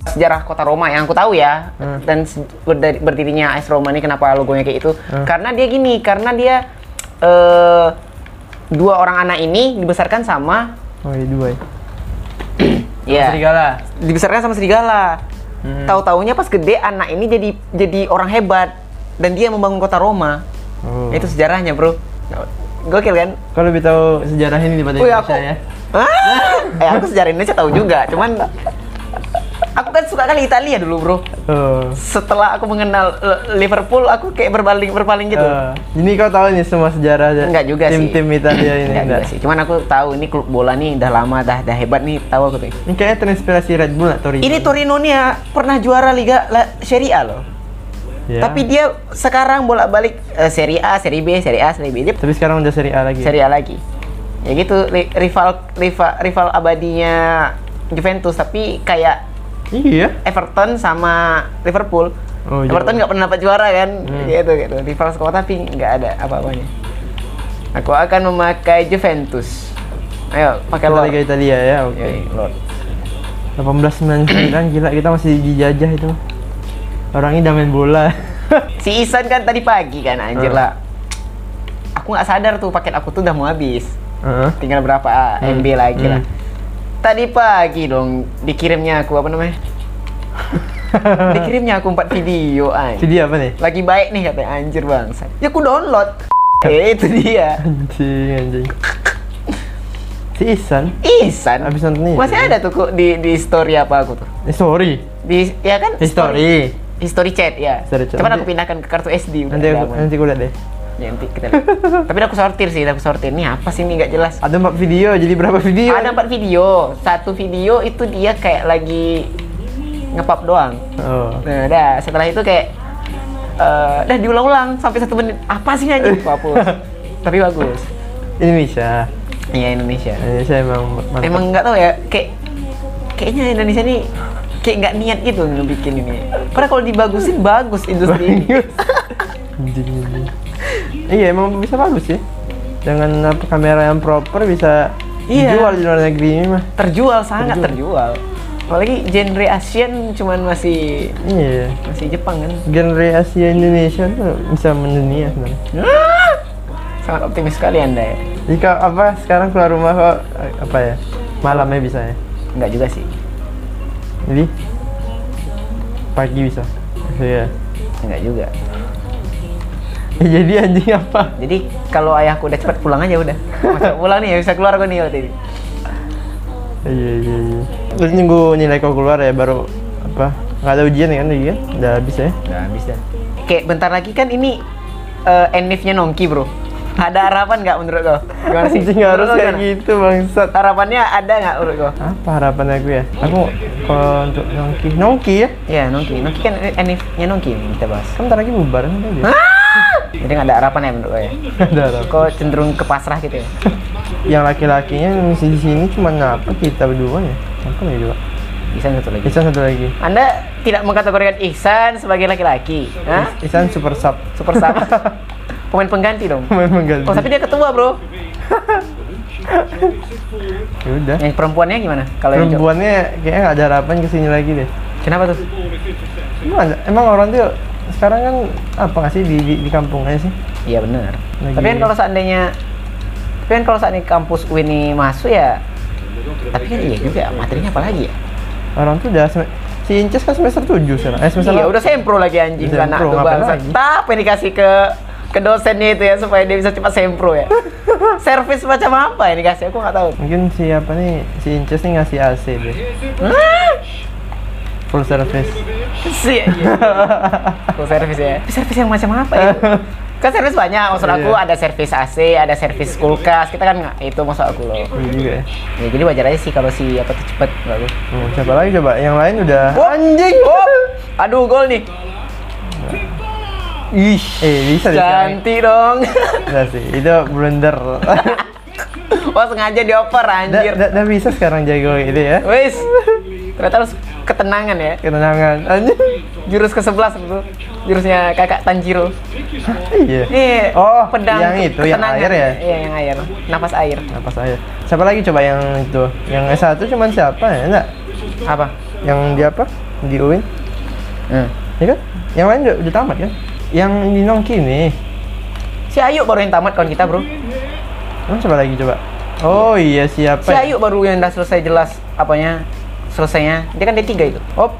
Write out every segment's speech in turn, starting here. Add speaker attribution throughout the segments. Speaker 1: sejarah kota Roma yang aku tahu ya
Speaker 2: Hmm.
Speaker 1: dan se- berdiri- berdirinya AS Roma ini kenapa logonya kayak itu
Speaker 2: Hmm.
Speaker 1: karena dia gini karena dia eh dua orang anak ini dibesarkan sama
Speaker 2: Oh iya dua ya.
Speaker 1: ya
Speaker 2: Serigala. Hmm.
Speaker 1: dibesarkan sama serigala tahu taunya pas gede anak ini jadi jadi orang hebat dan dia membangun kota Roma
Speaker 2: Oh.
Speaker 1: itu sejarahnya bro gokil kan
Speaker 2: Kalau lebih tahu sejarah ini daripada
Speaker 1: Wih, Oh,
Speaker 2: Indonesia
Speaker 1: iya, aku-
Speaker 2: ya.
Speaker 1: Ah, eh aku sejarah Indonesia tahu juga, cuman aku kan suka kali Italia dulu, Bro.
Speaker 2: Oh.
Speaker 1: Setelah aku mengenal eh, Liverpool, aku kayak berbaling berpaling gitu.
Speaker 2: Eh, ini kau tahu nih semua sejarah aja.
Speaker 1: Enggak juga sih.
Speaker 2: Tim-tim Italia
Speaker 1: Enggak
Speaker 2: ini.
Speaker 1: juga gitu sih. Cuman aku tahu ini klub bola nih udah lama dah dah hebat nih, tahu aku tuh.
Speaker 2: Ini kayaknya terinspirasi Red Bull atau Torino.
Speaker 1: Ini Torino nih ya, pernah juara Liga La Serie A loh.
Speaker 2: Ya.
Speaker 1: Tapi dia sekarang bolak-balik eh, Serie A, Serie B, Serie A, Serie B. Dia
Speaker 2: tapi sekarang udah Serie A lagi.
Speaker 1: Serie A lagi. Ya gitu, li- rival rival rival abadinya Juventus tapi kayak
Speaker 2: Iya.
Speaker 1: Everton sama Liverpool.
Speaker 2: Oh, iya. Hmm.
Speaker 1: Everton nggak pernah dapat juara kan, gitu gitu. Rival sekuat tapi nggak ada apa-apanya. Aku akan memakai Juventus. Ayo pakai Iya,
Speaker 2: Kita
Speaker 1: lor.
Speaker 2: Liga Italia ya. Oke.
Speaker 1: Yoi, lor.
Speaker 2: 1899 gila kita masih dijajah itu. Orang ini udah main bola.
Speaker 1: Si Isan kan tadi pagi kan, anjir
Speaker 2: Hmm.
Speaker 1: lah. Aku nggak sadar tuh paket aku tuh udah mau habis.
Speaker 2: Heeh.
Speaker 1: Tinggal berapa
Speaker 2: Hmm.
Speaker 1: MB lagi lah. Tadi pagi dong dikirimnya aku apa namanya? dikirimnya aku 4 video anjir.
Speaker 2: Jadi apa nih?
Speaker 1: Lagi baik nih katanya anjir bangsa. Ya aku download. Eh itu dia.
Speaker 2: Anjing, anjing. Si Isan,
Speaker 1: Isan.
Speaker 2: Abis nonton itu.
Speaker 1: Masih ada tuh kok di di story apa aku tuh.
Speaker 2: eh, sorry, Eh,
Speaker 1: Di ya kan?
Speaker 2: history.
Speaker 1: History chat ya.
Speaker 2: Story chat.
Speaker 1: Cuman
Speaker 2: Nanti-
Speaker 1: aku pindahkan ke kartu SD udah
Speaker 2: Nanti
Speaker 1: ada
Speaker 2: aku,
Speaker 1: aman.
Speaker 2: nanti aku lihat deh.
Speaker 1: Ya, nanti kita lihat. Tapi udah aku sortir sih, udah aku sortir. Ini apa sih ini nggak jelas.
Speaker 2: Ada empat video, jadi berapa video?
Speaker 1: Ada empat video. Satu video itu dia kayak lagi ngepap doang.
Speaker 2: Oh.
Speaker 1: Nah, dah setelah itu kayak eh dah diulang-ulang sampai satu menit. Apa sih aja? Hapus. Tapi bagus.
Speaker 2: Indonesia.
Speaker 1: Iya Indonesia.
Speaker 2: Indonesia emang mantap.
Speaker 1: Emang nggak tahu ya, kayak kayaknya Indonesia nih kayak nggak niat gitu ngebikin ini. Padahal kalau dibagusin bagus industri ini.
Speaker 2: Anjing, anjing. Iya, emang bisa bagus sih. Dengan apa, kamera yang proper bisa
Speaker 1: Iya.
Speaker 2: dijual di luar negeri ini mah.
Speaker 1: Terjual sangat terjual. Apalagi genre Asian cuman masih
Speaker 2: Iya.
Speaker 1: masih Jepang kan.
Speaker 2: Genre Asia Indonesia tuh bisa mendunia sebenarnya.
Speaker 1: Ah! Sangat optimis sekali Anda ya.
Speaker 2: Jika apa sekarang keluar rumah kok eh, apa ya? Malamnya bisa ya.
Speaker 1: Nggak juga sih.
Speaker 2: Jadi pagi bisa. Iya.
Speaker 1: Nggak juga.
Speaker 2: Ya, jadi anjing apa?
Speaker 1: Jadi kalau ayahku udah cepat pulang aja udah. Masa pulang nih ya bisa keluar gue nih waktu ini.
Speaker 2: Iya iya iya. Terus nunggu nilai kau keluar ya baru apa? Gak ada ujian ya kan lagi kan? Udah habis ya?
Speaker 1: Udah habis dah. Kayak bentar lagi kan ini uh, NIF-nya Nongki, Bro. Ada harapan nggak menurut lo? Gimana sih?
Speaker 2: Anjing harus
Speaker 1: Menurut lo
Speaker 2: kayak
Speaker 1: gimana?
Speaker 2: gitu bangsat.
Speaker 1: Harapannya ada nggak menurut lo?
Speaker 2: Apa harapan aku ya? Aku kalau untuk nongki, nongki ya?
Speaker 1: Ya, Nongki. Nongki kan NIF-nya Nongki yang kita bahas.
Speaker 2: Kan bentar lagi bubar kan dia.
Speaker 1: Jadi nggak ada harapan ya menurut lo ya?
Speaker 2: Ada harapan.
Speaker 1: Kok cenderung ke pasrah gitu ya?
Speaker 2: Yang laki-lakinya yang masih di sini cuma apa kita berdua ya? Apa ya dua?
Speaker 1: Ihsan satu lagi.
Speaker 2: Isan satu lagi.
Speaker 1: Anda tidak mengkategorikan Ihsan sebagai laki-laki, Hah?
Speaker 2: Isan super sub.
Speaker 1: Super sub. Pemain pengganti dong.
Speaker 2: Main mengganti.
Speaker 1: Oh, tapi dia ketua, Bro.
Speaker 2: Ya udah.
Speaker 1: Yang Eh, perempuannya gimana? Kalau yang cowok?
Speaker 2: Perempuannya kayaknya nggak ada harapan kesini lagi deh.
Speaker 1: Kenapa tuh?
Speaker 2: Emang, ada- emang orang tuh sekarang kan apa nggak sih di, di, di kampung aja sih?
Speaker 1: Iya benar.
Speaker 2: Lagi-
Speaker 1: Tapi kan kalau seandainya tapi kan kalau seandainya kampus ini masuk ya tapi kan iya juga materinya apa lagi ya?
Speaker 2: Orang tuh udah sem- si Inces kan semester 7 sekarang. Eh semester
Speaker 1: Iya
Speaker 2: delapan.
Speaker 1: udah sempro lagi anjing
Speaker 2: Sempro,
Speaker 1: sana tuh
Speaker 2: ngapain
Speaker 1: bangsa.
Speaker 2: lagi?
Speaker 1: Tapi dikasih ke ke dosennya itu ya supaya dia bisa cepat sempro ya. Servis macam apa yang dikasih aku nggak tahu.
Speaker 2: Mungkin si apa nih si Inces nih ngasih AC deh. Full service.
Speaker 1: Sih. Full iya. servis ya. Tapi servis yang macam apa ya? Kan servis banyak, maksud aku
Speaker 2: Iya.
Speaker 1: ada servis AC, ada servis kulkas, kita kan nggak itu maksud aku loh.
Speaker 2: Iya juga ya.
Speaker 1: Ya, jadi wajar aja sih kalau si apa tuh cepet bagus.
Speaker 2: Hmm, siapa lagi coba? Yang lain udah.
Speaker 1: Anjing. Oh, Aduh gol nih.
Speaker 2: Ih, eh bisa deh. sekarang.
Speaker 1: Cantik dong.
Speaker 2: Bisa sih. Itu blunder.
Speaker 1: Wah sengaja dioper
Speaker 2: Udah
Speaker 1: anjir.
Speaker 2: udah- udah bisa sekarang jago gitu ya.
Speaker 1: Wis. Ternyata harus ketenangan ya.
Speaker 2: Ketenangan. Anjing.
Speaker 1: Jurus ke-11 itu. Jurusnya Kakak Tanjiro.
Speaker 2: Iya.
Speaker 1: Ini
Speaker 2: oh,
Speaker 1: pedang
Speaker 2: yang itu yang
Speaker 1: ketenangan.
Speaker 2: air ya.
Speaker 1: Iya, yang air. Napas air.
Speaker 2: Apa saya? Siapa lagi coba yang itu? Yang S1 cuman siapa ya? Enggak.
Speaker 1: Apa?
Speaker 2: Yang dia apa? di UIN
Speaker 1: Hmm.
Speaker 2: ya kan yang lain udah, udah tamat kan yang di Nongki nih
Speaker 1: Si Ayu baru yang tamat kawan kita bro.
Speaker 2: emang siapa lagi coba oh iya siapa
Speaker 1: Si
Speaker 2: ya?
Speaker 1: Ayu baru yang udah selesai jelas apanya selesainya. Dia kan D3 itu.
Speaker 2: op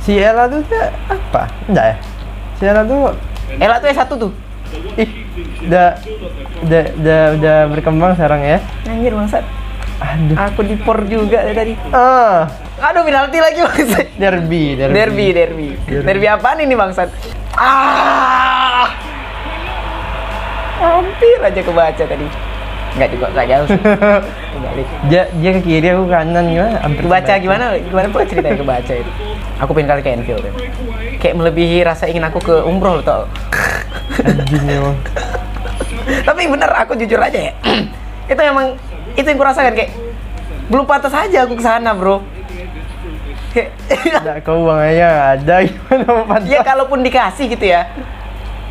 Speaker 2: si Ella tuh dia apa enggak ya si Ella tuh
Speaker 1: Ella tuh S1 tuh.
Speaker 2: ih udah udah udah, udah berkembang sekarang ya
Speaker 1: Anjir bangsat.
Speaker 2: aduh
Speaker 1: Aku di por juga dari tadi.
Speaker 2: ah
Speaker 1: Aduh penalti lagi bangsat.
Speaker 2: derby derby,
Speaker 1: Derby, derby.
Speaker 2: Derby.
Speaker 1: Derby apaan ini bangsat? Ah! Hampir aja kebaca tadi. Enggak juga, enggak jauh sih. Kebalik.
Speaker 2: dia dia ke kiri aku ke kanan gimana hampir
Speaker 1: Kebaca
Speaker 2: kebalik.
Speaker 1: gimana? Gimana pula ceritanya kebaca itu? Aku pengen kali ke Enfield ya. Kayak melebihi rasa ingin aku ke umroh lo tau.
Speaker 2: anjing emang
Speaker 1: Tapi bener, aku jujur aja ya. itu emang itu yang kurasakan kayak belum pantas aja aku ke sana, Bro. Kayak-
Speaker 2: Nggak, kau uangnya nggak ada gimana mau pantas
Speaker 1: ya kalaupun dikasih gitu ya.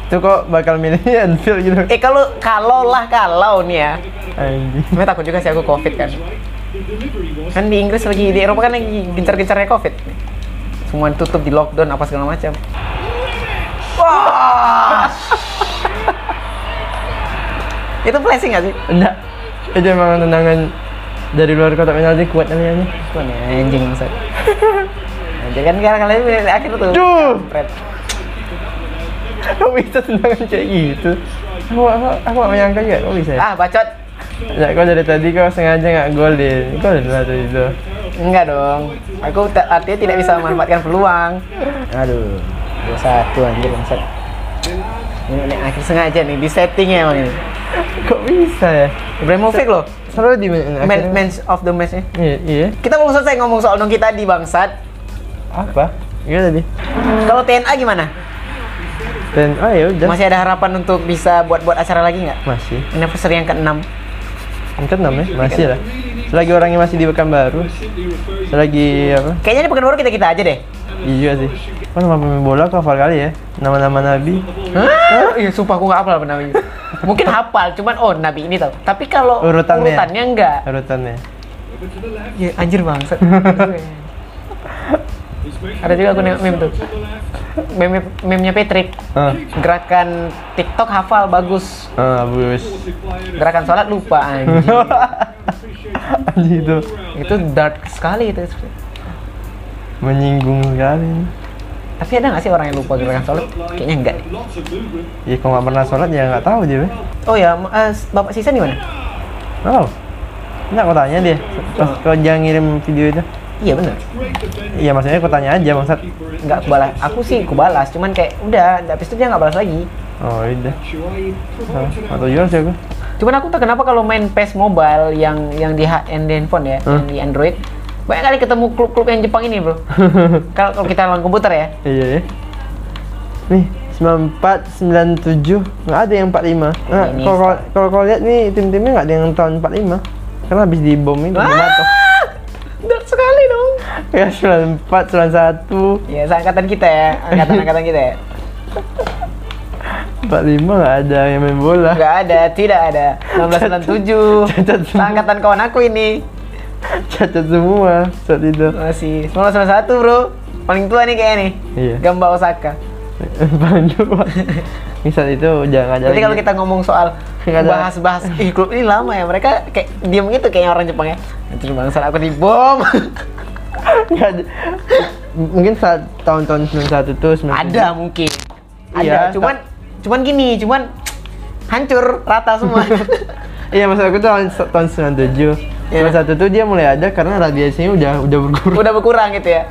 Speaker 2: tuh kok bakal milihnya Anfield gitu
Speaker 1: Eh kalau kalau lah kalau nih ya.
Speaker 2: anjing
Speaker 1: Sebenernya takut juga sih aku covid kan Kan di Inggris lagi, di Eropa kan lagi gencar-gencarnya covid Semua tutup di lockdown apa segala macam Wah Itu flashing gak sih?
Speaker 2: enggak itu emang tendangan dari luar kotak penalti kuat kali ya
Speaker 1: Tuh nih anjing maksud Anjing kan karena kalian di akhir tuh
Speaker 2: Duh.
Speaker 1: Kampret.
Speaker 2: kok bisa tendangan kayak gitu aku aku aku nggak menyangka juga kok bisa ya
Speaker 1: Ah bacot
Speaker 2: Nggak, kok dari tadi kau sengaja nggak gol deh kau udah tadi itu
Speaker 1: Enggak dong Aku t- artinya tidak bisa memanfaatkan peluang Aduh dua satu anjing maksud ini, ini akhir sengaja nih, di settingnya emang ini
Speaker 2: kok bisa ya
Speaker 1: Ibrahimovic loh
Speaker 2: selalu di
Speaker 1: man,
Speaker 2: men akhirnya-
Speaker 1: man of the match
Speaker 2: iya iya
Speaker 1: Kita belum selesai ngomong soal Nongki tadi bangsat.
Speaker 2: apa Iya tadi
Speaker 1: Kalau TNA gimana?
Speaker 2: dan oh ya udah
Speaker 1: Masih ada harapan untuk bisa buat-buat acara lagi nggak?
Speaker 2: masih
Speaker 1: Anniversary yang ke-6.
Speaker 2: Yang keenam ya? Masih lah. Selagi orangnya masih di Pekanbaru. Selagi apa?
Speaker 1: Kayaknya di Pekanbaru kita-kita aja deh.
Speaker 2: Iya juga sih. Kan nama pemain bola kau hafal kali ya? Nama-nama nabi.
Speaker 1: Hah? Iya, sumpah aku nggak hafal apa namanya. Mungkin hafal, cuman oh nabi ini tau. Tapi kalau
Speaker 2: Urutannya.
Speaker 1: urutannya enggak.
Speaker 2: Urutannya.
Speaker 1: Ya anjir bangsat. ada juga aku nengok meme tuh. Meme meme-nya Patrick.
Speaker 2: Ah,
Speaker 1: Gerakan TikTok hafal bagus.
Speaker 2: ah, bagus.
Speaker 1: Gerakan sholat lupa anjir.
Speaker 2: Anjing itu
Speaker 1: itu dark sekali itu.
Speaker 2: menyinggung sekali.
Speaker 1: Tapi ada nggak sih orang yang lupa gerakan sholat? Kayaknya enggak. deh.
Speaker 2: Ya kalau nggak pernah sholat ya nggak tahu dia. Be.
Speaker 1: Oh ya, ma- eh, Bapak Sisa di mana?
Speaker 2: Oh. Enggak kau tanya dia. Pas kau jangan ngirim video itu.
Speaker 1: Iya bener.
Speaker 2: Iya maksudnya kau tanya aja maksud.
Speaker 1: Nggak aku balas. Aku sih aku balas, cuman kayak udah, habis itu dia nggak balas lagi.
Speaker 2: Oh udah. Salah. Atau jual sih aku.
Speaker 1: Cuman aku tak kenapa kalau main PES mobile yang yang di, ha- yang di handphone ya, yang di Android, banyak kali ketemu klub-klub yang Jepang ini bro. kalau kalau kita lawan komputer ya,
Speaker 2: Iya ya. Nih, 94, 97, nggak ada yang 45. Nah,
Speaker 1: Ini
Speaker 2: kalau kalau- kalau kau lihat nih tim-timnya nggak ada yang tahun 45. Karena habis dibom itu
Speaker 1: Ah!
Speaker 2: jatuh.
Speaker 1: dark sekali dong.
Speaker 2: Ya 94, 91,
Speaker 1: Ya, seangkatan kita ya, angkatan-angkatan kita ya.
Speaker 2: 45 nggak ada yang main bola.
Speaker 1: Nggak ada, tidak ada. 1997,
Speaker 2: Cacat semua.
Speaker 1: seangkatan kawan aku ini.
Speaker 2: Cacat semua saat itu.
Speaker 1: Masih 1991 bro, paling tua nih kayaknya nih.
Speaker 2: Iya.
Speaker 1: Gamba Osaka.
Speaker 2: Banyak banget. Ini saat itu udah nggak ada
Speaker 1: Jadi kalau
Speaker 2: lagi.
Speaker 1: kita ngomong soal
Speaker 2: Nggak ada.
Speaker 1: bahas-bahas ih klub ini lama ya mereka kayak diem gitu kayaknya orang Jepang ya. Itu bangsa aku dibom.
Speaker 2: gitu. Nggak ada. Mungkin saat tahun-tahun 91 tuh 97.
Speaker 1: ada mungkin. Ada,
Speaker 2: Iya,
Speaker 1: cuman cuman gini, cuman hancur rata semua.
Speaker 2: Iya maksud aku tuh tahun, tahun 97.
Speaker 1: Iya.
Speaker 2: 91 tuh dia mulai ada karena radiasinya udah udah berkurang.
Speaker 1: Udah berkurang gitu ya.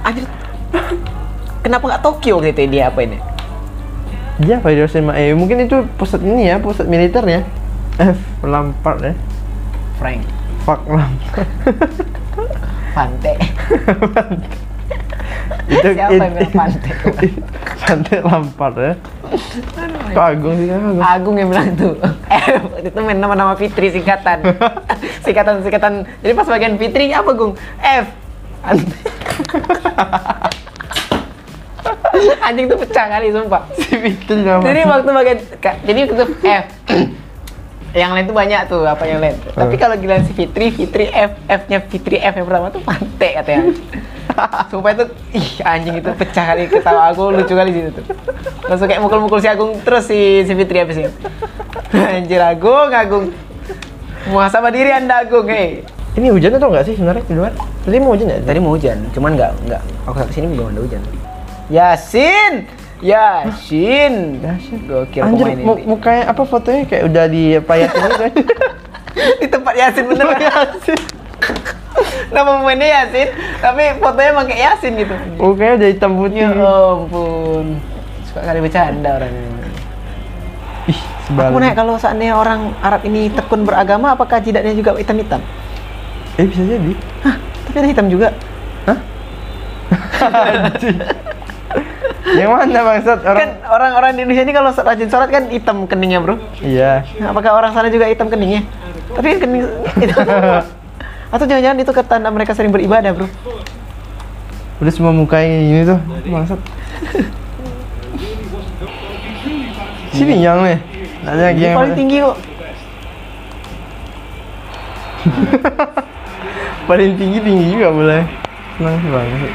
Speaker 1: Anjir. Kenapa nggak Tokyo gitu ya dia apa ini?
Speaker 2: Dia apa Hiroshima? Eh mungkin itu pusat ini ya, pusat militer ya. F Lampard ya.
Speaker 1: Frank
Speaker 2: Fuck Lampard.
Speaker 1: Pante.
Speaker 2: itu
Speaker 1: Siapa yang bilang pantai?
Speaker 2: Pantai Lampard ya. Kok Agung sih kan Agung.
Speaker 1: Agung yang bilang tuh. Eh, itu main nama-nama Fitri singkatan. Singkatan-singkatan. Jadi pas bagian Fitri apa, Gung? F. An- Anjing tuh pecah kali, sumpah.
Speaker 2: Si Fitri nama.
Speaker 1: Jadi waktu bagian ka- jadi itu F. eh, yang lain tuh banyak tuh apa yang lain tapi kalau giliran si Fitri Fitri F F nya Fitri F yang pertama tuh pantai katanya supaya tuh ih anjing itu pecah kali ketawa aku lucu kali situ tuh langsung kayak mukul-mukul si Agung terus si si Fitri habis ini anjir Agung Agung muhasabah diri anda Agung hei
Speaker 2: Ini hujan atau enggak sih sebenarnya di luar? Tadi mau hujan ya?
Speaker 1: Tadi mau hujan, cuman nggak nggak. Aku ke sini belum ada hujan. Yasin, Yasin,
Speaker 2: Yasin.
Speaker 1: Gokil
Speaker 2: Anjir,
Speaker 1: pemain
Speaker 2: mu-
Speaker 1: ini.
Speaker 2: mukanya apa fotonya kayak udah dipayatin gitu kan?
Speaker 1: Di tempat Yasin bener Yasin. Nama pemainnya Yasin, tapi fotonya emang kayak Yasin gitu.
Speaker 2: Mukanya udah hitam putih.
Speaker 1: Ya ampun, suka kali bercanda orang ini.
Speaker 2: Ih,
Speaker 1: Aku
Speaker 2: sebalik.
Speaker 1: nanya kalau seandainya orang Arab ini tekun beragama, apakah jidatnya juga hitam-hitam?
Speaker 2: Eh, bisa jadi.
Speaker 1: Hah, tapi ada hitam juga.
Speaker 2: Anjing. Yang mana bangsat orang?
Speaker 1: Kan orang-orang di Indonesia ini kalau rajin sholat kan hitam keningnya bro.
Speaker 2: Iya.
Speaker 1: Nah, apakah orang sana juga hitam keningnya? Tapi kan kening itu. Atau jangan-jangan itu ketanda mereka sering beribadah, Bro.
Speaker 2: Udah semua mukanya ini tuh, bangsat. Sini yang nih. Nanya lagi
Speaker 1: Ini
Speaker 2: yang
Speaker 1: paling tinggi kok.
Speaker 2: paling tinggi tinggi juga boleh. Senang sih banget.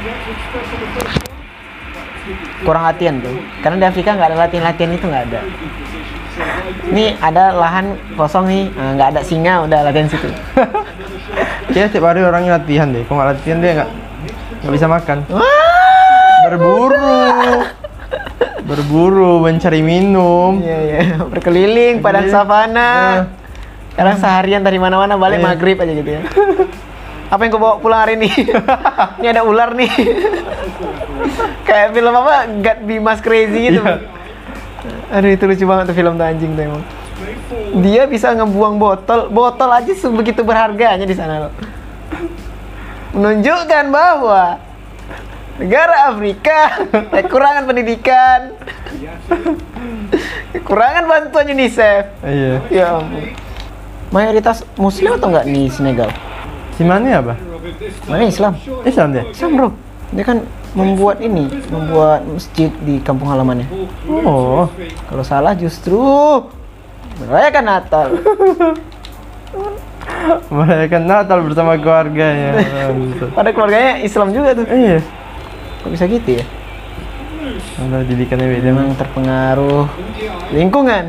Speaker 1: Kurang latihan tuh. Karena di Afrika nggak ada latihan-latihan itu nggak ada. Ini ada lahan kosong nih, eh, nggak ada singa udah latihan situ.
Speaker 2: Kayaknya Iya, tiap hari orangnya latihan deh. Kalau nggak latihan dia nggak nggak bisa makan.
Speaker 1: Wah.
Speaker 2: Berburu, berburu mencari minum.
Speaker 1: Iya iya, berkeliling padang
Speaker 2: Berkeliling.
Speaker 1: savana. Hmm.
Speaker 2: Iya.
Speaker 1: Sekarang seharian dari mana-mana balik
Speaker 2: Iya.
Speaker 1: maghrib aja gitu ya. Apa yang kau bawa pulang hari ini? ini ada ular nih. Kayak film apa? God Be Mas Crazy gitu.
Speaker 2: Iya.
Speaker 1: Aduh itu lucu banget tuh film tuh anjing tuh emang. Dia bisa ngebuang botol, botol aja sebegitu berharganya di sana loh. Menunjukkan bahwa negara Afrika kekurangan pendidikan, kekurangan bantuan UNICEF.
Speaker 2: Iya.
Speaker 1: Ya ampun. Mayoritas muslim atau enggak di Senegal?
Speaker 2: Si mana apa? Eh,
Speaker 1: Mana Islam?
Speaker 2: Islam dia.
Speaker 1: Islam bro. Dia kan membuat ini, membuat masjid di kampung halamannya.
Speaker 2: Oh,
Speaker 1: Kalau salah justru merayakan Natal.
Speaker 2: merayakan Natal bersama keluarganya. Bangsat.
Speaker 1: Pada keluarganya Islam juga tuh.
Speaker 2: Iya.
Speaker 1: Kok bisa gitu ya?
Speaker 2: Natal didikannya beda.
Speaker 1: Memang terpengaruh lingkungan.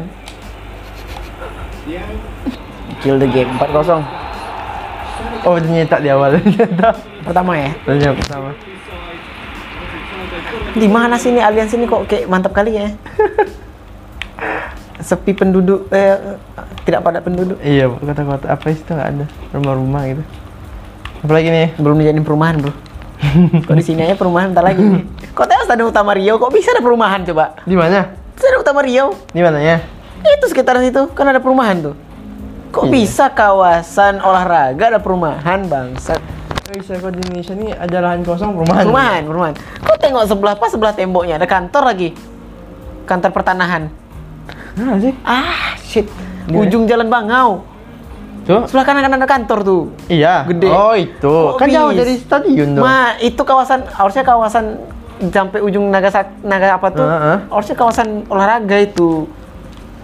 Speaker 1: Kill the game 4-0.
Speaker 2: Oh, dia nyetak di awal. Nyetak.
Speaker 1: Pertama ya.
Speaker 2: Tanya pertama.
Speaker 1: Di mana sih ini aliansi ini kok kayak mantap kali ya? Sepi penduduk, eh, tidak padat penduduk.
Speaker 2: Iya, kota-kota apa sih itu nggak ada rumah-rumah gitu. Apalagi nih?
Speaker 1: belum dijadiin perumahan bro kok di sini aja perumahan ntar lagi kok tahu stadion utama Riau kok bisa ada perumahan coba
Speaker 2: Di mana?
Speaker 1: stadion utama Riau
Speaker 2: Di mananya?
Speaker 1: itu sekitaran situ kan ada perumahan tuh kok
Speaker 2: Iya.
Speaker 1: bisa kawasan olahraga ada perumahan bangsat
Speaker 2: Bisa kok di Indonesia nih ada lahan kosong perumahan.
Speaker 1: perumahan perumahan kok tengok sebelah pas sebelah temboknya ada kantor lagi kantor pertanahan
Speaker 2: Nah sih.
Speaker 1: ah shit
Speaker 2: Iya.
Speaker 1: ujung jalan Bangau
Speaker 2: Tuh.
Speaker 1: sebelah kanan kan ada kantor tuh
Speaker 2: Iya.
Speaker 1: Gede.
Speaker 2: Oh itu.
Speaker 1: Kok
Speaker 2: kan jauh
Speaker 1: bis?
Speaker 2: dari stadion dong.
Speaker 1: Ma, itu kawasan harusnya kawasan sampai ujung naga naga apa tuh?
Speaker 2: Heeh.
Speaker 1: Harusnya kawasan olahraga itu.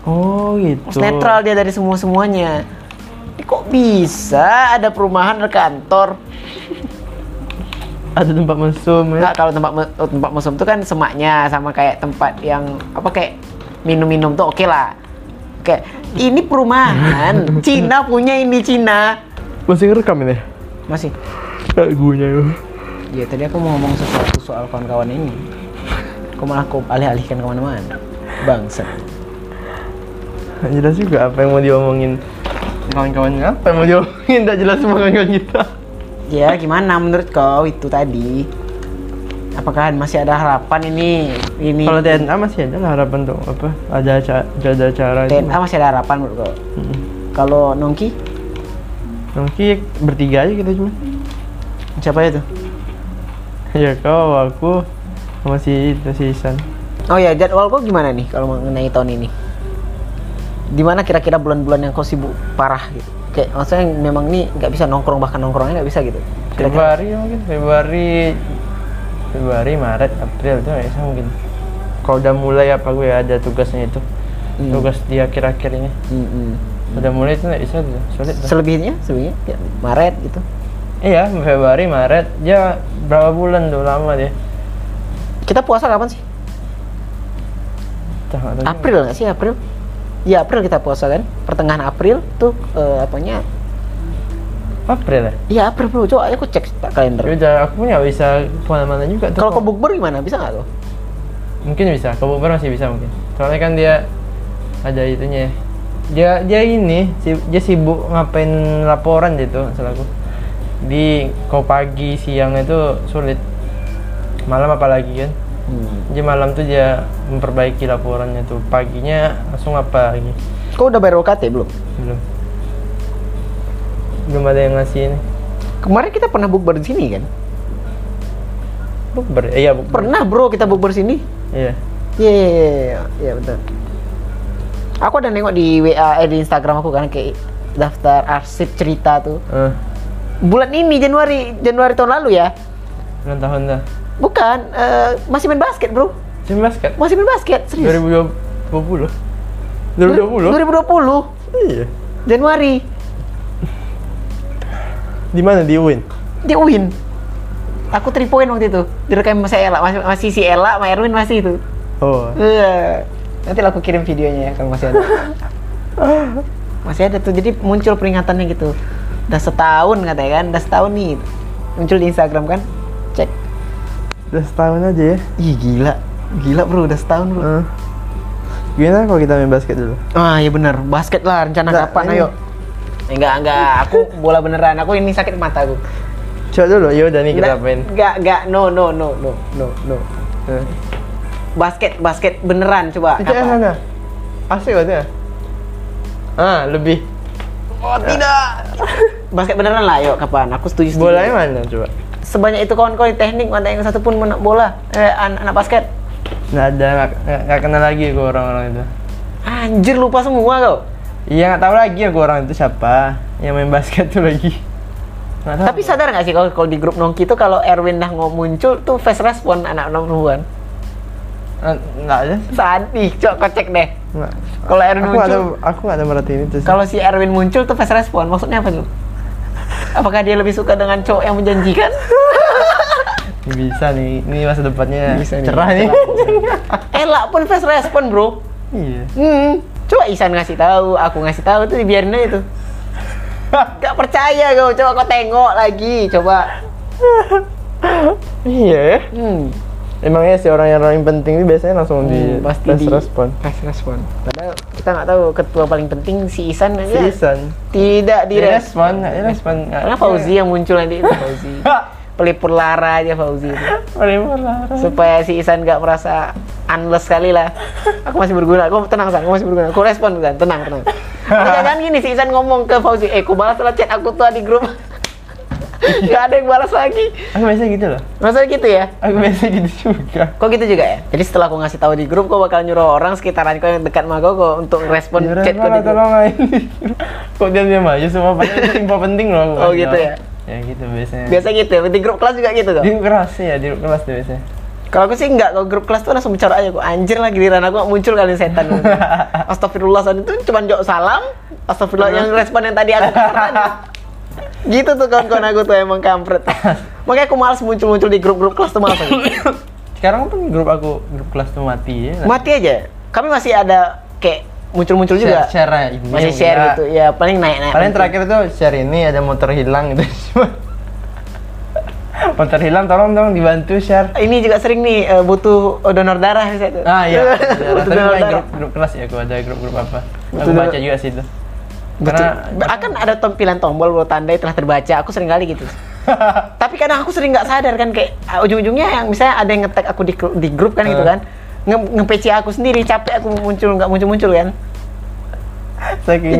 Speaker 2: oh
Speaker 1: Harus
Speaker 2: gitu.
Speaker 1: netral dia dari semua semuanya. Kok bisa ada perumahan ada kantor?
Speaker 2: Ada tempat mesum ya.
Speaker 1: Enggak kalau tempat me- tempat museum tuh kan semaknya sama kayak tempat yang apa kayak minum-minum tuh oke lah. Oke, ini perumahan. Cina punya ini Cina.
Speaker 2: Masih ngerekam ini?
Speaker 1: Masih.
Speaker 2: Lagunya ya.
Speaker 1: Ya tadi aku mau ngomong sesuatu soal kawan-kawan ini. Kok malah aku alih-alihkan kemana-mana? Bangsat.
Speaker 2: Nggak jelas juga apa yang mau diomongin kawan-kawannya apa yang mau diomongin nggak jelas sama kawan-kawan kita
Speaker 1: Ya gimana menurut kau itu tadi? Apakah masih ada harapan ini? Ini
Speaker 2: kalau TNA masih ada lah harapan tuh apa ada acara ada acara gitu. itu.
Speaker 1: TNA masih ada harapan menurut kau?
Speaker 2: Mm-mm.
Speaker 1: Kalau Nongki,
Speaker 2: Nongki bertiga aja kita cuma.
Speaker 1: siapa itu?
Speaker 2: Ya kau, aku, sama si itu si Isan.
Speaker 1: Oh ya jadwal kau gimana nih kalau mengenai tahun ini? Di mana kira-kira bulan-bulan yang kau sibuk parah gitu? Kayak maksudnya memang nih nggak bisa nongkrong bahkan nongkrongnya nggak bisa gitu. Kira-kira-
Speaker 2: Februari ya mungkin, Februari, Februari, Maret, April itu nggak bisa mungkin. Kalau udah mulai apa gue ada tugasnya itu,
Speaker 1: Hmm.
Speaker 2: tugas di akhir-akhir ini.
Speaker 1: Mm-mm.
Speaker 2: udah mulai itu nggak bisa tuh sulit tuh.
Speaker 1: Selebihnya, selebihnya kayak Maret gitu.
Speaker 2: iya Februari Maret dia berapa bulan tuh lama dia
Speaker 1: Kita puasa kapan sih?
Speaker 2: Entah, nggak tahu juga.
Speaker 1: April nggak sih April? Ya April kita puasa kan. Pertengahan April tuh eh, apanya?
Speaker 2: April ya
Speaker 1: Iya April bro. Coba aku cek pak
Speaker 2: Ya
Speaker 1: kalender.
Speaker 2: udah aku nggak bisa kemana-mana juga tuh
Speaker 1: Kalau
Speaker 2: kok.
Speaker 1: ke bukber gimana? Bisa nggak tuh?
Speaker 2: mungkin bisa ke Bogor masih bisa mungkin soalnya kan dia ada itunya ya. dia dia ini si- dia sibuk ngapain laporan gitu selaku di kau pagi siang itu sulit malam apalagi kan dia malam tuh dia memperbaiki laporannya tuh paginya langsung apa lagi
Speaker 1: Kau udah bayar UKT belum?
Speaker 2: belum belum ada yang ngasih ini
Speaker 1: Kemarin kita pernah bukber di sini kan?
Speaker 2: bukber Eh, iya bukber
Speaker 1: Pernah bro kita bukber sini.
Speaker 2: iya
Speaker 1: Iya, iya, iya, iya, iya, betul. Aku ada nengok di WA eh, di Instagram aku kan kayak daftar arsip cerita tuh.
Speaker 2: Eh,
Speaker 1: Bulan ini Januari Januari tahun lalu ya.
Speaker 2: ulang tahun dah
Speaker 1: Bukan eh, masih main basket, Bro.
Speaker 2: Tim basket
Speaker 1: Masih main basket, serius.
Speaker 2: 2020 2020
Speaker 1: 2020
Speaker 2: iya
Speaker 1: Januari
Speaker 2: di mana di Win
Speaker 1: di UIN. Aku 3 point waktu itu. Direkam sama si Ella, masih, masih si Ella, sama Erwin masih itu.
Speaker 2: oh
Speaker 1: Eh, Nanti lah aku kirim videonya ya kalau masih ada. masih ada tuh. Jadi muncul peringatannya gitu. Udah setahun katanya kan, udah setahun nih. Muncul di Instagram kan. Cek.
Speaker 2: udah setahun aja ya
Speaker 1: Ih gila. Gila bro, udah setahun bro.
Speaker 2: Eh. gimana kalau kita main basket dulu
Speaker 1: Ah iya bener, basket lah rencana
Speaker 2: Nggak,
Speaker 1: kapan
Speaker 2: ini-
Speaker 1: ayo. Enggak, enggak, aku bola beneran. Aku ini sakit mata aku.
Speaker 2: coba dulu ya udah nih kita
Speaker 1: Nggak,
Speaker 2: main
Speaker 1: Nggak, nggak, no, no, no, no, no, no.
Speaker 2: Eh.
Speaker 1: Basket, basket beneran coba.
Speaker 2: Itu yang
Speaker 1: apa?
Speaker 2: sana asik banget ya ah lebih
Speaker 1: Oh tidak. basket beneran lah, yuk kapan? Aku setuju. setuju.
Speaker 2: bolanya mana coba
Speaker 1: Sebanyak itu kawan-kawan di teknik, mana yang satu pun menang bola, eh, an- anak basket.
Speaker 2: nggak ada nggak- nggak nggak kenal lagi aku orang-orang itu
Speaker 1: Anjir lupa semua kau.
Speaker 2: iya nggak tahu lagi aku orang itu siapa yang main basket tuh lagi nggak tahu
Speaker 1: Tapi sadar nggak sih kalau kalau di grup Nongki itu kalau Erwin dah mau muncul tuh fast respon anak anak perempuan.
Speaker 2: Eh, nggak ada sih.
Speaker 1: Saat ih, coba kau cek deh.
Speaker 2: Nggak.
Speaker 1: Kalau Aaron
Speaker 2: aku nggak
Speaker 1: muncul-
Speaker 2: tahu- aku nggak ada merhatiin itu sih.
Speaker 1: Kalau si Erwin muncul tuh fast respon, maksudnya apa tuh? Apakah dia lebih suka dengan cowok yang menjanjikan?
Speaker 2: Ini bisa nih ini masa depannya cerah nih
Speaker 1: Elak pun fast respon bro.
Speaker 2: iya
Speaker 1: Hmm, coba Isan ngasih tahu, aku ngasih tahu tuh dibiarin aja tuh. Gak percaya kau, coba kau tengok lagi, coba.
Speaker 2: iya ya.
Speaker 1: Hmm,
Speaker 2: Emangnya sih orang yang orang yang penting itu biasanya langsung di
Speaker 1: hmm, pasti
Speaker 2: fast
Speaker 1: di
Speaker 2: respon.
Speaker 1: Fast respon. Padahal kita nggak tahu ketua paling penting si Isan aja.
Speaker 2: Season.
Speaker 1: Tidak
Speaker 2: Iya. Di
Speaker 1: direspon.
Speaker 2: respon, di respon.
Speaker 1: Karena Fauzi yang muncul nanti itu Fauzi. Pelipur lara aja Fauzi itu.
Speaker 2: Paling larang.
Speaker 1: supaya si Isan nggak merasa unless sekali lah aku masih berguna aku tenang San aku masih berguna aku respon San tenang tenang Tapi jangan gini si Isan ngomong ke Fauzi eh aku balas lah chat aku tuh di grup nggak ada yang balas lagi
Speaker 2: Aku biasanya gitu loh.
Speaker 1: maksudnya gitu ya
Speaker 2: Aku biasanya gitu juga.
Speaker 1: Kok gitu juga ya? Jadi setelah aku ngasih tahu di grup, kau bakal nyuruh orang sekitaran kau yang dekat sama kau, kau untuk respon
Speaker 2: Ya,
Speaker 1: chat kau
Speaker 2: Rara,
Speaker 1: di grup.
Speaker 2: tolong main. Kok dia diam aja semua padahal itu info penting loh.
Speaker 1: Oh,
Speaker 2: aku kasih
Speaker 1: gitu
Speaker 2: tau.
Speaker 1: ya?
Speaker 2: Ya gitu biasanya.
Speaker 1: Biasa gitu ya, di grup kelas juga gitu kok.
Speaker 2: Di kelas sih ya, di kelas tuh biasanya.
Speaker 1: Kalau aku sih enggak, kalau grup kelas tuh langsung bicara aja kok. Anjir lah giliran aku nggak muncul kali setan. Astagfirullah saat itu cuma jok salam. Astagfirullah yang respon yang tadi aku kampret. Gitu tuh kawan-kawan aku tuh emang kampret. Makanya aku males muncul-muncul di grup-grup kelas tuh males. aku.
Speaker 2: Sekarang pun grup aku grup kelas tuh mati ya.
Speaker 1: Mati aja. Kami masih ada kayak muncul-muncul juga.
Speaker 2: Share, Iya. share ini.
Speaker 1: Masih share
Speaker 2: enggak.
Speaker 1: gitu. Ya paling naik-naik.
Speaker 2: Paling terakhir tuh share ini ada motor hilang gitu. motor hilang tolong dong dibantu share.
Speaker 1: Ini juga sering nih eh, butuh donor darah misalnya tuh.
Speaker 2: Ah iya.
Speaker 1: butuh
Speaker 2: Tapi
Speaker 1: donor
Speaker 2: main
Speaker 1: darah.
Speaker 2: grup, grup kelas ya, gua ada grup grup apa? Aku
Speaker 1: Betul.
Speaker 2: baca juga sih itu. Karena
Speaker 1: Betul. akan ada tampilan tombol bro tandai telah terbaca. Aku sering kali gitu. Tapi kadang aku sering nggak sadar kan kayak ah, ujung-ujungnya yang misalnya ada yang ngetek aku di, gru- di grup kan gitu
Speaker 2: Eh.
Speaker 1: kan. Nge, nge-PC aku sendiri capek aku muncul nggak muncul-muncul kan.
Speaker 2: saking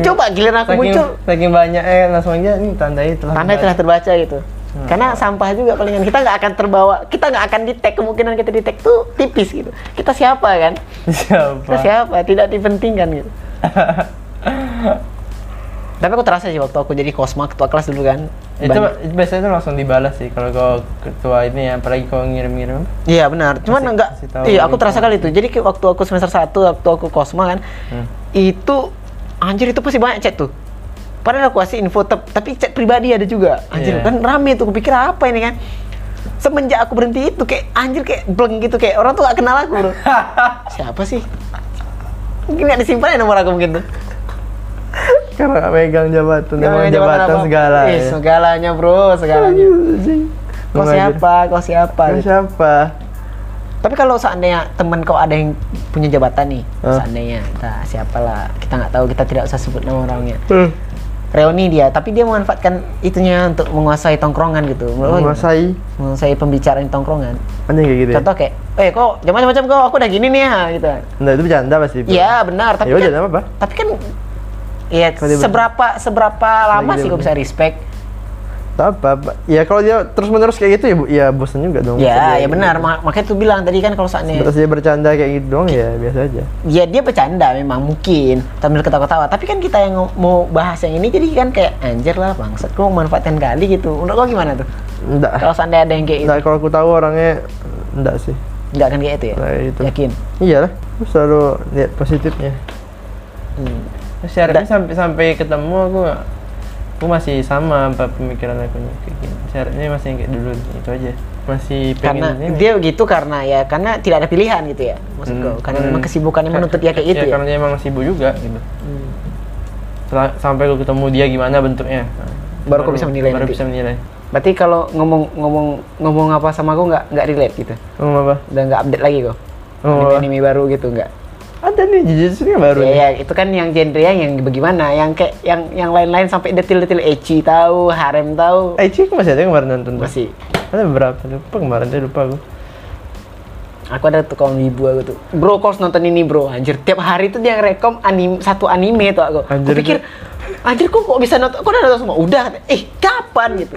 Speaker 1: Ya, coba giliran aku
Speaker 2: Iya. saking,
Speaker 1: muncul.
Speaker 2: saking banyak eh langsung aja nih tandai telah
Speaker 1: Tandai telah terbaca gitu.
Speaker 2: Hmm.
Speaker 1: Karena sampah juga palingan kita nggak akan terbawa, kita nggak akan di tag kemungkinan kita di tag tuh tipis gitu. Kita siapa kan?
Speaker 2: siapa?
Speaker 1: Kita siapa? Tidak dipentingkan gitu. Tapi aku terasa sih waktu aku jadi kosma ketua kelas dulu kan.
Speaker 2: Itu, itu biasanya tuh langsung dibalas sih kalau kau ketua ini ya, apalagi kau ngirim-ngirim.
Speaker 1: Iya benar, cuman
Speaker 2: Kasih-
Speaker 1: enggak.
Speaker 2: kasih tahu
Speaker 1: Iya,
Speaker 2: ini. Hmm.
Speaker 1: aku terasa kali itu. Jadi kayak waktu aku semester 1, waktu aku kosma kan, itu anjir itu pasti banyak chat tuh padahal aku kasih info tep, tapi chat pribadi ada juga anjir
Speaker 2: Iya.
Speaker 1: kan rame tuh kupikir apa ini kan semenjak aku berhenti itu kayak anjir kayak bleng gitu kayak orang tuh gak kenal aku bro siapa sih mungkin gak disimpan ya nomor aku mungkin tuh
Speaker 2: Karena nggak megang jabatan,
Speaker 1: Nggak
Speaker 2: emang
Speaker 1: ada
Speaker 2: jabatan,
Speaker 1: apa-apa.
Speaker 2: segala.
Speaker 1: Ih,
Speaker 2: ya.
Speaker 1: segalanya bro segalanya
Speaker 2: Anjing.
Speaker 1: kau
Speaker 2: Ngomong aja.
Speaker 1: siapa kau siapa
Speaker 2: Kau
Speaker 1: gitu.
Speaker 2: siapa?
Speaker 1: Tapi kalau seandainya teman kau ada yang punya jabatan nih,
Speaker 2: Hah?
Speaker 1: seandainya, entah siapalah, kita nggak tahu, kita tidak usah sebut nama orangnya.
Speaker 2: Hmm.
Speaker 1: Reuni dia, tapi dia memanfaatkan itunya untuk menguasai tongkrongan gitu. Menurut lo gimana?
Speaker 2: Menguasai
Speaker 1: menguasai pembicaraan di tongkrongan.
Speaker 2: anjing kayak gitu. ya?
Speaker 1: Contoh kayak, eh kok jangan macam-macam kau, aku udah gini nih ya, gitu.
Speaker 2: Nah, itu bercanda pasti. Bro.
Speaker 1: Iya benar, tapi
Speaker 2: Ya udah,
Speaker 1: kan,
Speaker 2: nggak apa-apa.
Speaker 1: tapi kan, ya
Speaker 2: Kalau dia
Speaker 1: seberapa seberapa lama
Speaker 2: dia
Speaker 1: sih kau
Speaker 2: benar.
Speaker 1: bisa respect?
Speaker 2: Tak apa, apa. Ya kalau dia terus-menerus kayak gitu ya, Bu, ya bosan juga dong.
Speaker 1: Ya,
Speaker 2: Dia- gitu.
Speaker 1: ya benar. Mak- Makanya tuh bilang tadi kan kalau seandainya
Speaker 2: Terus dia bercanda kayak gitu dong ya biasa aja.
Speaker 1: ya dia bercanda memang mungkin sambil ketawa-ketawa tapi kan kita yang ngo- mau bahas yang ini jadi kan kayak anjir lah bangsat kok manfaatkan kali gitu menurut kau gimana tuh
Speaker 2: Enggak.
Speaker 1: kalau seandainya ada yang kayak gitu. itu
Speaker 2: Enggak kalau aku tahu orangnya enggak sih.
Speaker 1: nggak akan kayak itu ya
Speaker 2: Nah, itu.
Speaker 1: yakin
Speaker 2: Iyalah, aku selalu lihat positifnya.
Speaker 1: Hmm.
Speaker 2: Si Arif ini sampai sampai ketemu aku nggak- aku masih sama apa pemikiran aku nih kayak gini. Si Arif ini masih yang kayak dulu itu aja. Masih pengen
Speaker 1: karena
Speaker 2: ini.
Speaker 1: dia begitu karena ya karena tidak ada pilihan gitu ya maksud
Speaker 2: Hmm.
Speaker 1: kau karena
Speaker 2: Hmm.
Speaker 1: memang kesibukannya menuntut dia kayak
Speaker 2: Ya,
Speaker 1: gitu ya,
Speaker 2: karena dia emang sibuk juga gitu.
Speaker 1: Hmm.
Speaker 2: Setelah- sampai aku ketemu dia gimana bentuknya. Nah,
Speaker 1: Baru kau bisa menilai
Speaker 2: Baru
Speaker 1: nanti.
Speaker 2: bisa menilai.
Speaker 1: berarti kalau ngomong ngomong ngomong apa sama kau nggak nggak relate gitu
Speaker 2: Ngomong apa?
Speaker 1: udah nggak update lagi kau
Speaker 2: Ngomong
Speaker 1: anime,
Speaker 2: apa?
Speaker 1: anime baru gitu nggak
Speaker 2: Ada nih jujutsu ini baru.
Speaker 1: Ya,
Speaker 2: nih.
Speaker 1: ya, itu kan yang genre yang bagaimana, yang kayak yang yang lain-lain sampai detail-detail ecchi tahu, harem tahu.
Speaker 2: Eh, Cik masih ada yang kemarin nonton. tuh?
Speaker 1: Masih.
Speaker 2: Ada berapa? Lupa kemarin saya lupa aku.
Speaker 1: Aku ada tuh kawan ibu aku tuh. Bro, kau harus nonton ini, Bro. Anjir, tiap hari tuh dia rekom anim satu anime tuh aku.
Speaker 2: Anjir,
Speaker 1: aku pikir anjir kok kok bisa nonton? Kok udah nonton semua? Udah. kata- Eh, kapan gitu.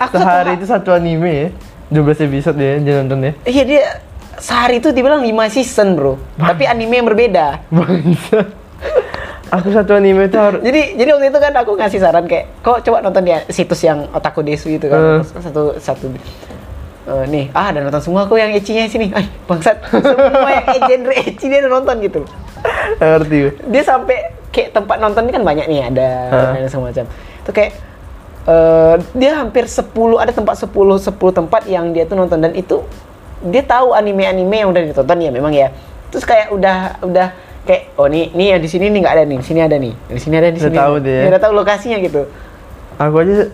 Speaker 1: Aku satu
Speaker 2: Sehari
Speaker 1: ha-
Speaker 2: itu satu anime ya. 12 episode dia, dia nonton ya.
Speaker 1: Iya, dia sehari itu dibilang 5 season, Bro. Tapi anime yang berbeda.
Speaker 2: Bangsa. Aku satu anime itu harus
Speaker 1: Jadi jadi waktu itu kan aku ngasih saran kayak kok coba nonton dia situs yang Otaku Desu itu
Speaker 2: Eh.
Speaker 1: kan Terus satu satu eh, nih ah dan nonton semua aku yang ecinya sini. Ay, bangsat semua yang e- genre eci dia udah nonton gitu. loh.
Speaker 2: Nggak ngerti gue.
Speaker 1: Dia sampai kayak tempat nonton ini kan banyak nih ada
Speaker 2: Hah.
Speaker 1: dan segala macam. Itu kayak eh, dia hampir 10 ada tempat 10 10 tempat yang dia tuh nonton dan itu dia tahu anime-anime yang udah ditonton ya memang ya. Terus kayak udah udah kayak oh nih nih yang di sini nih nggak ada nih, di sini ada nih, di sini ada di
Speaker 2: Udah
Speaker 1: sini.
Speaker 2: tahu
Speaker 1: ada.
Speaker 2: dia.
Speaker 1: Dia udah tahu lokasinya gitu.
Speaker 2: Aku aja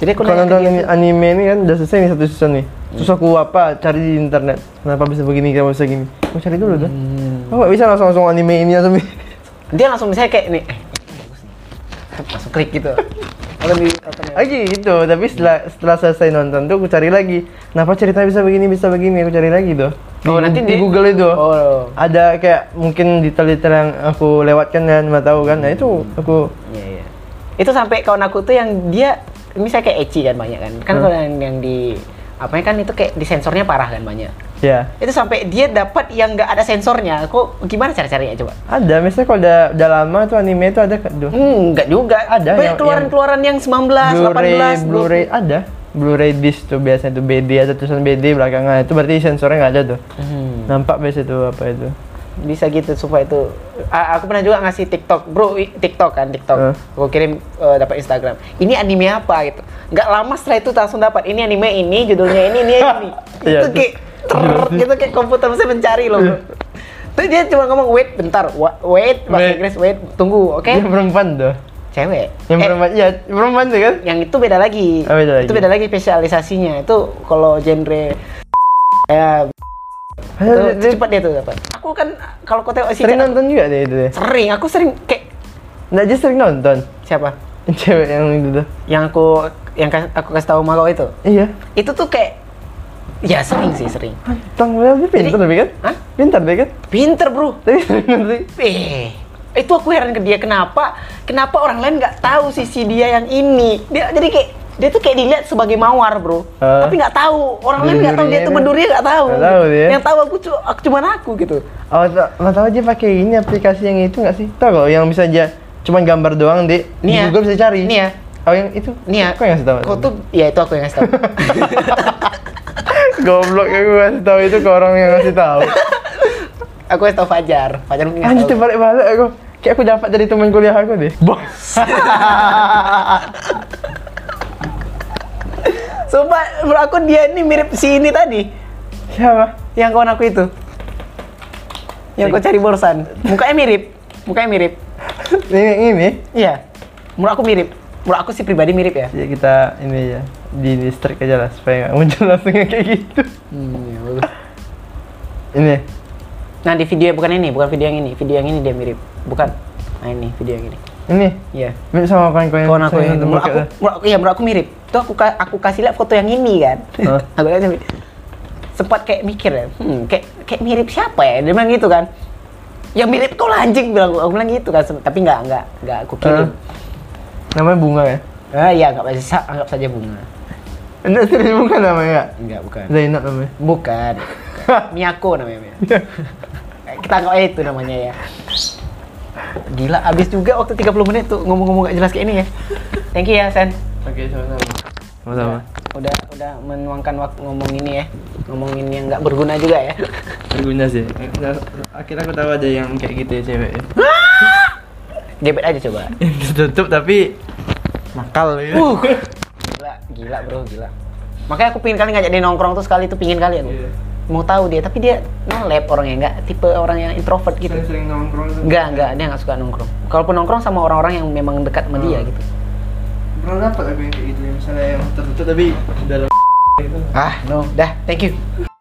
Speaker 1: Jadi aku nanya
Speaker 2: kalau
Speaker 1: ke
Speaker 2: nonton
Speaker 1: dia
Speaker 2: ini-
Speaker 1: tuh,
Speaker 2: anime ini kan udah selesai nih satu season nih. Terus aku apa cari di internet. Kenapa bisa begini, kenapa bisa gini. Aku cari dulu dah.
Speaker 1: Hmm.
Speaker 2: Aku nggak bisa langsung-langsung anime ini langsung.
Speaker 1: dia langsung misalnya kayak nih, eh, bagus nih. langsung klik gitu. Atau di atau di-
Speaker 2: Lagi gitu, tapi setelah setelah selesai nonton tuh aku cari lagi. Kenapa ceritanya bisa begini, bisa begini, aku cari lagi tuh. Di,
Speaker 1: Oh, nanti
Speaker 2: di
Speaker 1: di-
Speaker 2: Google itu.
Speaker 1: Oh.
Speaker 2: ada kayak mungkin detail-detail yang aku lewatkan dan nggak tahu kan nah itu aku
Speaker 1: Iya, iya. Itu sampai kawan aku tuh yang dia misalnya kayak Eci kan banyak kan. Kan
Speaker 2: Hmm.
Speaker 1: kalau yang, yang di apanya kan itu kayak di sensornya parah kan banyak.
Speaker 2: ya
Speaker 1: Itu sampai dia dapat yang nggak ada sensornya. Kok gimana cara carinya coba?
Speaker 2: ada misalnya kalau udah, udah lama tuh anime itu ada kan tuh
Speaker 1: Hmm, nggak juga.
Speaker 2: Ada
Speaker 1: Banyak
Speaker 2: yang-
Speaker 1: keluaran-keluaran yang 19,
Speaker 2: Blu-ray
Speaker 1: 18, 20.
Speaker 2: Blu-ray ada Blu-ray disc tuh biasanya tuh BD ada tulisan BD belakangan itu berarti sensornya nggak ada tuh
Speaker 1: Hmm.
Speaker 2: nampak biasa tuh apa itu
Speaker 1: bisa gitu supaya itu A- aku pernah juga ngasih TikTok bro i- TikTok kan TikTok
Speaker 2: Heeh.
Speaker 1: aku kirim eh, dapat Instagram ini anime apa gitu nggak lama setelah itu langsung dapat ini anime ini judulnya ini ini ini
Speaker 2: Iya,
Speaker 1: itu
Speaker 2: itu-
Speaker 1: kayak ter gitu kayak komputer bisa mencari loh bro. Terus dia cuma ngomong wait bentar wa- wait bahasa
Speaker 2: Wait.
Speaker 1: Inggris wait tunggu oke
Speaker 2: yang perempuan tuh
Speaker 1: cewek
Speaker 2: yang
Speaker 1: Eh,
Speaker 2: perempuan ya perempuan tuh kan
Speaker 1: yang itu beda lagi.
Speaker 2: Oh,
Speaker 1: itu
Speaker 2: beda lagi.
Speaker 1: beda lagi spesialisasinya itu kalau genre ya
Speaker 2: Padahal
Speaker 1: itu
Speaker 2: dia- dia
Speaker 1: cepat dia tuh dapat aku kan kalau kau tengok si
Speaker 2: sering
Speaker 1: Cak-
Speaker 2: nonton juga deh itu deh
Speaker 1: sering aku sering kayak
Speaker 2: nggak aja sering nonton
Speaker 1: siapa
Speaker 2: Yang cewek yang itu tuh
Speaker 1: yang aku yang kas- aku kasih tahu sama kau itu
Speaker 2: iya
Speaker 1: itu tuh kayak ya sering sih sering
Speaker 2: Tang, dia pintar tapi kan?
Speaker 1: Hah?
Speaker 2: Pintar deh kan?
Speaker 1: pinter bro
Speaker 2: Tapi sering nonton
Speaker 1: eh itu aku heran ke dia kenapa kenapa orang lain nggak tahu sisi dia yang ini dia jadi kayak dia tuh kayak dilihat sebagai mawar bro
Speaker 2: Ah.
Speaker 1: tapi nggak tahu orang lain nggak tahu dia tuh
Speaker 2: Bendurinya kan?
Speaker 1: bendurnya nggak tahu
Speaker 2: Nggak tahu dia.
Speaker 1: yang tahu aku, cu- aku cuman aku gitu
Speaker 2: Oh, ta- nggak tahu aja pakai ini aplikasi yang itu nggak sih? Tahu kalau yang bisa aja cuman gambar doang di, di
Speaker 1: Nih ya.
Speaker 2: Google bisa cari.
Speaker 1: Nih ya.
Speaker 2: Oh yang itu?
Speaker 1: nih ya
Speaker 2: Kok yang ngasih tahu?
Speaker 1: kau tuh ya itu aku yang ngasih tahu
Speaker 2: goblok yang gue ngasih tahu itu ke orang yang ngasih tahu.
Speaker 1: aku ngasih tahu Fajar Fajar mungkin ngasih
Speaker 2: Anjir
Speaker 1: tahu.
Speaker 2: terbalik balik aku. Kayak kayak aku dapat dari teman kuliah aku deh bos
Speaker 1: Sumpah, menurut aku dia ini mirip si ini tadi.
Speaker 2: siapa
Speaker 1: Yang kawan aku itu. Yang kau cari borsan. Mukanya mirip. Mukanya mirip.
Speaker 2: ini ini
Speaker 1: Iya. Menurut aku mirip. Menurut aku sih pribadi mirip ya.
Speaker 2: ya kita ini ya di distrik aja lah supaya nggak muncul langsung yang kayak gitu ini
Speaker 1: Nah, di video bukan ini, bukan video yang ini. Video yang ini dia mirip. Bukan. Nah, ini video yang ini.
Speaker 2: ini
Speaker 1: Iya.
Speaker 2: mirip sama kawan kau yang ya.
Speaker 1: Kawan aku
Speaker 2: sering
Speaker 1: yang
Speaker 2: ketemu
Speaker 1: menurut aku,
Speaker 2: kayak-
Speaker 1: menurut aku, iya menurut aku mirip. Tuh aku ka- aku kasih lihat foto yang ini kan.
Speaker 2: Hah?
Speaker 1: aku lihat sampai- sempat kayak mikir ya, hmm, kayak kayak mirip siapa ya? Dia bilang gitu kan. Yang mirip kau lah anjing bilang aku, aku bilang gitu kan, Sem- tapi nggak nggak nggak aku kirim.
Speaker 2: namanya bunga ya
Speaker 1: Ah iya anggap saja anggap saja bunga.
Speaker 2: enggak serius bukan namanya
Speaker 1: Enggak bukan.
Speaker 2: Zainab namanya
Speaker 1: Bukan. Miyako namanya. Mia. Kita anggap aja itu namanya ya. Gila, abis juga waktu 30 menit tuh ngomong-ngomong gak jelas kayak ini ya. Thank you ya, Sen.
Speaker 2: oke sama-sama sama-sama
Speaker 1: Udah udah menuangkan waktu ngomong ini ya. Ngomongin yang nggak berguna juga ya.
Speaker 2: Iya. berguna sih Nah, akhirnya aku tahu ada yang kayak gitu ya cewek ya.
Speaker 1: Gebet aja coba.
Speaker 2: yang ditutup tapi nakal gitu
Speaker 1: Uh. Gila, gila bro, gila. Makanya aku pingin kali ngajak dia nongkrong tuh sekali tuh pingin kali aku.
Speaker 2: Iya.
Speaker 1: Mau tahu dia, tapi dia nolep orangnya nggak tipe orang yang introvert gitu.
Speaker 2: sering nongkrong tuh.
Speaker 1: Enggak, enggak, dia nggak suka nongkrong. Kalaupun nongkrong sama orang-orang yang memang dekat sama dia gitu.
Speaker 2: Belum ya? dapat aku yang kayak gitu, yang misalnya yang tertutup tapi dalam
Speaker 1: Ah, no, dah, thank you.